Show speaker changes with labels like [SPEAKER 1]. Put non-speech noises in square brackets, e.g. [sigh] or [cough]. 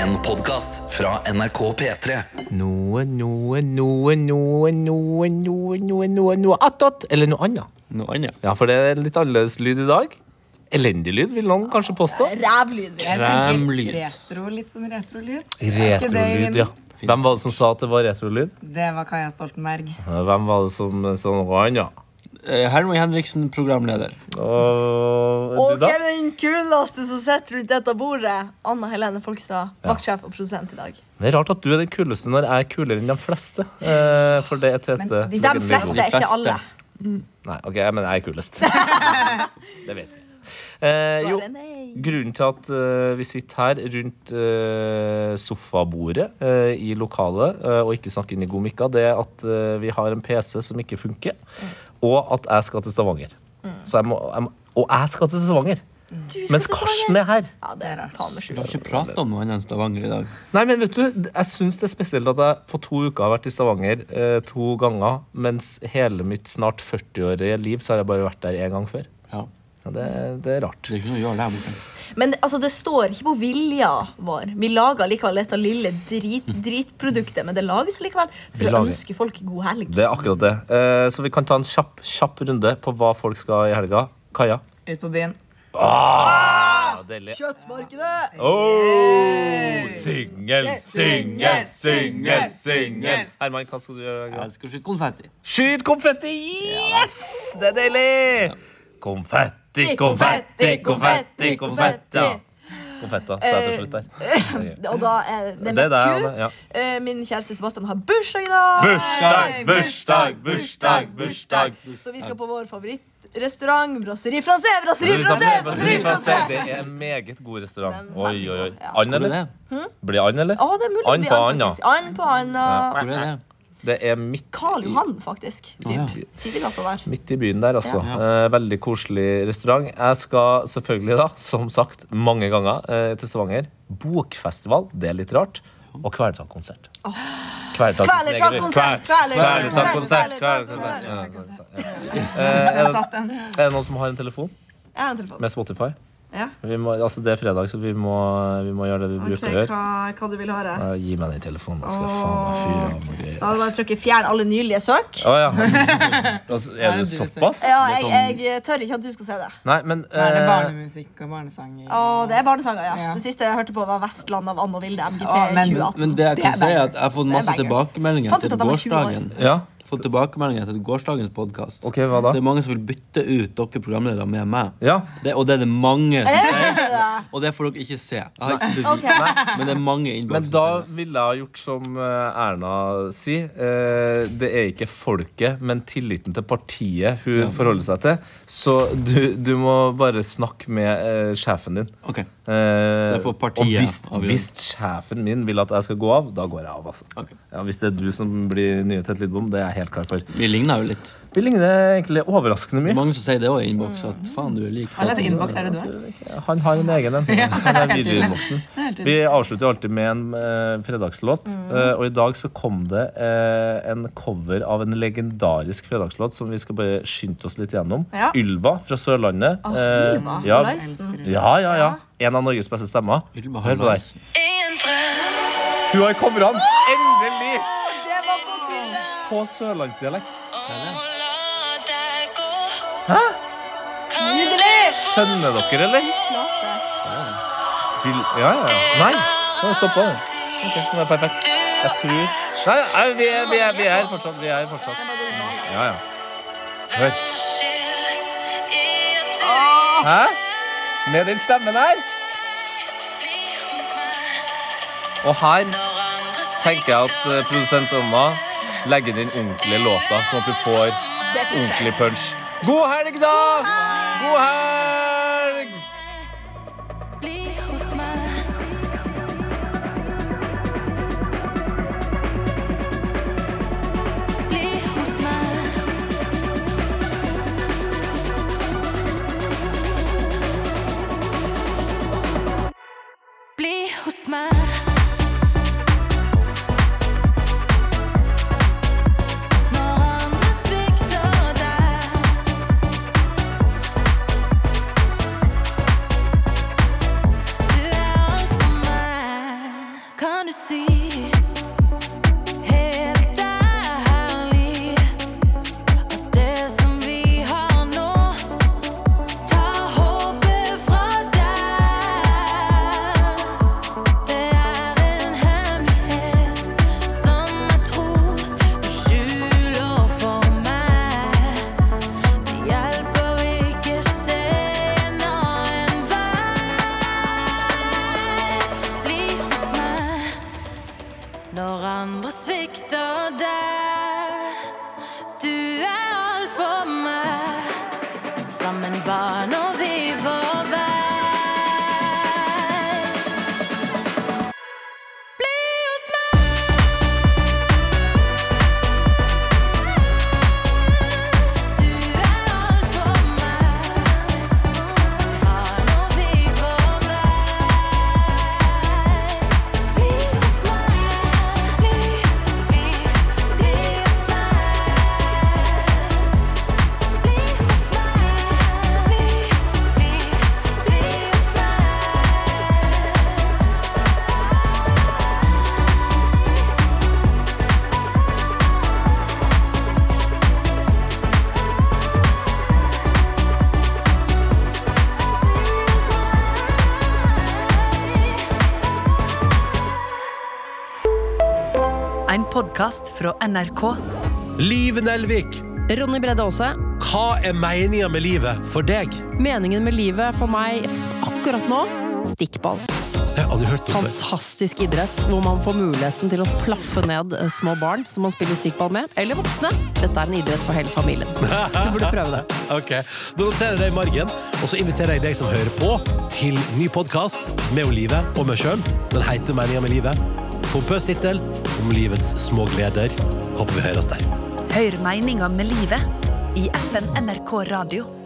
[SPEAKER 1] En podcast fra NRK P3
[SPEAKER 2] Noe, noe, noe, noe, noe, noe, noe, noe, noe attåt. Eller noe annet.
[SPEAKER 3] Noe annet.
[SPEAKER 2] Ja, for det er litt annerledes lyd i dag. Elendig lyd, vil noen kanskje påstå.
[SPEAKER 4] Rævlyd, vil jeg si.
[SPEAKER 3] Kremlyd.
[SPEAKER 4] Retro, litt sånn retrolyd. Er ikke det i
[SPEAKER 2] Retrolyd,
[SPEAKER 4] vinden?
[SPEAKER 2] ja. Hvem var det som sa at det var retrolyd?
[SPEAKER 4] Det var Kaja Stoltenberg.
[SPEAKER 2] Hvem var det som sa noe annet?
[SPEAKER 3] Eh, Herman Henriksen, programleder.
[SPEAKER 2] Og
[SPEAKER 5] Og
[SPEAKER 2] du, da?
[SPEAKER 5] hvem er den kuleste som sitter rundt dette bordet? Anna Helene Folkstad, vaktsjef og produsent i dag.
[SPEAKER 2] Det er rart at du er den kuleste når jeg er kulere enn de fleste. Eh, for det er Tete.
[SPEAKER 4] Men de-
[SPEAKER 5] De fleste,
[SPEAKER 3] De fleste.
[SPEAKER 5] ikke alle.
[SPEAKER 2] Nei, OK, men jeg er kulest. [laughs] det vet jeg. Eh, jo,
[SPEAKER 5] Svaret er nei.
[SPEAKER 2] grunnen til at eh, vi sitter her rundt eh, sofabordet eh, i lokalet eh, og ikke snakker inn i god mikka, det er at eh, vi har en PC som ikke funker,
[SPEAKER 5] Mm.
[SPEAKER 2] og at jeg skal til Stavanger. Så jeg må, jeg må, og jeg skal til Stavanger!
[SPEAKER 5] Mm. Du skal
[SPEAKER 2] Mens
[SPEAKER 5] til
[SPEAKER 2] Karsten
[SPEAKER 5] Stavanger.
[SPEAKER 2] er her.
[SPEAKER 5] Ja, det er faen meg
[SPEAKER 3] Du har
[SPEAKER 5] sjukt.
[SPEAKER 3] ikke prata om noe annet enn Stavanger i dag.
[SPEAKER 2] Nei, men vet du, Jeg syns det er spesielt at jeg på to uker har vært i Stavanger eh, to ganger, mens hele mitt snart 40-årige liv så har jeg bare vært der én gang før.
[SPEAKER 3] Ja.
[SPEAKER 2] Ja, det, det er rart.
[SPEAKER 3] Det er ikke noe å gjøre der borte.
[SPEAKER 5] Men altså, det står ikke på vilja vår. Vi lager likevel dette lille drit, dritproduktet, men det lages likevel
[SPEAKER 2] Vi
[SPEAKER 5] for å
[SPEAKER 2] lager.
[SPEAKER 5] ønske folk god helg.
[SPEAKER 2] Det er akkurat det. Eh, så vi kan ta en kjapp, kjapp runde på hva folk skal i helga. Kaja?
[SPEAKER 4] Ut på byen.
[SPEAKER 2] Ah, deilig.
[SPEAKER 5] Kjøttmarkedet!
[SPEAKER 2] Oh, singel,
[SPEAKER 4] Singel, singel, singel.
[SPEAKER 2] Herman, hva skal du gjøre?
[SPEAKER 3] Jeg skal skyte konfetti.
[SPEAKER 2] Skyt konfetti! Yes! Det er deilig! Konfetti, konfetti, konfetti, konfetti. Eh. Konfetta, sa jeg til slutt der.
[SPEAKER 5] Og da er det
[SPEAKER 2] Det
[SPEAKER 5] med
[SPEAKER 2] er deg,
[SPEAKER 5] ku.
[SPEAKER 2] Anne. Ja.
[SPEAKER 5] Eh, Min kjæreste Sebastian har bursdag i dag.
[SPEAKER 2] Bursdag, bursdag, bursdag, bursdag.
[SPEAKER 5] Så vi skal på vår favorittrestaurant. Brasserie Francais! Brasserie Francais! Brasserie Francais!
[SPEAKER 2] Det er en meget god restaurant.
[SPEAKER 5] Den er
[SPEAKER 2] Oi,
[SPEAKER 5] veldig
[SPEAKER 2] oi, oi.
[SPEAKER 5] god, ja.
[SPEAKER 2] And,
[SPEAKER 3] Hvor er
[SPEAKER 2] eller?
[SPEAKER 3] det?
[SPEAKER 2] Blir and, eller?
[SPEAKER 5] Å, det er mulig
[SPEAKER 2] And på and, ja.
[SPEAKER 5] And på Anna.
[SPEAKER 3] Hvor er det?
[SPEAKER 2] Det er midt,
[SPEAKER 5] Karl Johan, faktisk. Typ.
[SPEAKER 3] ja.
[SPEAKER 5] Sidegata der.
[SPEAKER 2] midt i byen der, altså. Eh, veldig koselig restaurant. Jeg skal selvfølgelig, da, som sagt, mange ganger eh, til Stavanger. Bokfestival, det er litt rart. Og Kvelertak-konsert. Kvelertak-
[SPEAKER 5] Kvelertak-konsert,
[SPEAKER 2] Kvel-
[SPEAKER 5] Kvelertak-konsert,
[SPEAKER 2] Kvelertak-konsert, Kvelertak-konsert. Ja, ja.
[SPEAKER 4] Jeg satt den.
[SPEAKER 2] Er det noen som har en telefon
[SPEAKER 5] Jeg har en telefon.
[SPEAKER 2] med Spotify?
[SPEAKER 5] Ja.
[SPEAKER 2] Vi må, altså Det er fredag, så vi må, vi må gjøre det vi bruker å gjøre.
[SPEAKER 5] hva, hva du vil høre?
[SPEAKER 2] Eh, Gi meg den telefonen, da skal jeg faen meg fyre av noe greier.
[SPEAKER 5] Da er det bare å trykke 'fjern alle nylige søk'.
[SPEAKER 2] Å ja. Altså, er du såpass?
[SPEAKER 5] Ja, jeg, jeg tør ikke at du skal se det.
[SPEAKER 2] Nei, men
[SPEAKER 4] Da er det
[SPEAKER 2] eh,
[SPEAKER 4] barnemusikk og barnesanger.
[SPEAKER 5] Å, det er barnesanger, ja.
[SPEAKER 4] Ja.
[SPEAKER 5] Den siste jeg hørte på, var 'Vestland' av Ann og Vilde. MGP
[SPEAKER 4] Å, men-
[SPEAKER 5] 2018.
[SPEAKER 3] Men det jeg
[SPEAKER 4] Det
[SPEAKER 3] kan si
[SPEAKER 4] er
[SPEAKER 3] er
[SPEAKER 4] banger.
[SPEAKER 3] at jeg har fått
[SPEAKER 5] Det er
[SPEAKER 3] masse
[SPEAKER 5] banger.
[SPEAKER 3] tilbakemeldinger
[SPEAKER 5] Fant ut
[SPEAKER 3] til
[SPEAKER 5] at jeg var 20 år.
[SPEAKER 3] gårsdagen.
[SPEAKER 2] Ja.
[SPEAKER 3] Fått tilbakemeldinger til gårsdagens podkast.
[SPEAKER 2] Ok, hva da?
[SPEAKER 3] Det er mange som vil bytte ut dere programledere med meg.
[SPEAKER 2] Ja.
[SPEAKER 3] Det, og det er det mange som sier. Og det får dere ikke se. Jeg har ikke bevis, men det er mange
[SPEAKER 2] Men
[SPEAKER 3] innbokser.
[SPEAKER 2] da ville jeg ha gjort som eh, Erna sier. Eh, Det er ikke folket, men tilliten til partiet hun forholder seg til. Så du, du må bare snakke med eh, sjefen din.
[SPEAKER 3] Ok.
[SPEAKER 2] Eh,
[SPEAKER 3] jeg får partiet
[SPEAKER 2] og hvis,
[SPEAKER 3] avgjøre.
[SPEAKER 2] hvis sjefen min vil at jeg skal gå av, da går jeg av. altså
[SPEAKER 3] Ok.
[SPEAKER 2] ja, Hvis det er du som blir nye Tett Lidbom, det er jeg helt klar for.
[SPEAKER 3] Vi ligner jo litt.
[SPEAKER 2] Vi ligner egentlig overraskende
[SPEAKER 3] Det er
[SPEAKER 2] mye.
[SPEAKER 3] mange som sier det òg i innboks. At faen, du er lik.
[SPEAKER 4] Hva slags innboks er det du har?
[SPEAKER 2] Han har en
[SPEAKER 5] [laughs]
[SPEAKER 2] egen en. Han er
[SPEAKER 4] helt tydelig.
[SPEAKER 2] videoinnboksen.
[SPEAKER 4] Det er helt
[SPEAKER 2] Vi
[SPEAKER 4] tydelig.
[SPEAKER 2] avslutter jo alltid med en eh, fredagslåt.
[SPEAKER 5] Mm.
[SPEAKER 2] eh, og i dag så kom det eh, en cover av en legendarisk fredagslåt som vi skal bare skynde oss litt gjennom.
[SPEAKER 5] Ja.
[SPEAKER 2] Ylva fra Sørlandet. Eh,
[SPEAKER 5] Ylva,
[SPEAKER 2] ja.
[SPEAKER 5] nice.
[SPEAKER 2] ja, ja, ja. En av Norges beste stemmer.
[SPEAKER 3] Ylva
[SPEAKER 2] Hør på
[SPEAKER 3] Halvorsen.
[SPEAKER 2] deg. Hun har covra den! Endelig!
[SPEAKER 5] Det var på tide!
[SPEAKER 2] På sørlandsdialekt.
[SPEAKER 5] Nydelig!
[SPEAKER 2] Skjønner dere, eller? Spill Ja, ja. ja. Nei, nå stoppa det. Ok, det er perfekt. Jeg tror Nei, nei vi, er, vi, er, vi er her fortsatt. Vi er her fortsatt. Ja, ja. Hør. Hæ? Med den stemmen her? Og her tenker jeg at eh, produsent Anna legger inn ordentlige låter, sånn at du får ordentlig punch. God helg, da! God helg!
[SPEAKER 6] Bli hos meg. Når andre svikter deg. Du er alt for meg. kan du si? Helt ærlig at det som vi har nå, tar håpet fra deg. Det er en hemmelighet som jeg tror du skjuler for meg. Det hjelper ikke senere enn vei. Bli hos meg når andre svikter deg. Du er alt for meg. Sammen baner vi vår vei. Bli hos meg. Du er alt for meg. Baner vi vår vei. Bli hos meg. Bli, bli, bli hos meg. Bli hos meg. Bli, bli, bli hos meg.
[SPEAKER 7] En podkast fra NRK.
[SPEAKER 8] Liv Nelvik,
[SPEAKER 9] Ronny Bredde Aase.
[SPEAKER 8] hva er meninga med livet for deg?
[SPEAKER 9] Meningen med livet for meg f- akkurat nå stikkball.
[SPEAKER 8] Jeg har aldri hørt om det før.
[SPEAKER 9] Fantastisk idrett hvor man får muligheten til å plaffe ned eh, små barn som man spiller stikkball med, eller voksne. Dette er en idrett for hele familien. Du burde prøve det.
[SPEAKER 8] [laughs] Ok, Da noterer jeg det i margen, og så inviterer jeg deg som hører på, til ny podkast med om livet og meg sjøl. Den heter Meninga med livet. Pompøs tittel om livets små gleder. Håper vi høres der.
[SPEAKER 7] Hør meninga med livet i appen NRK Radio.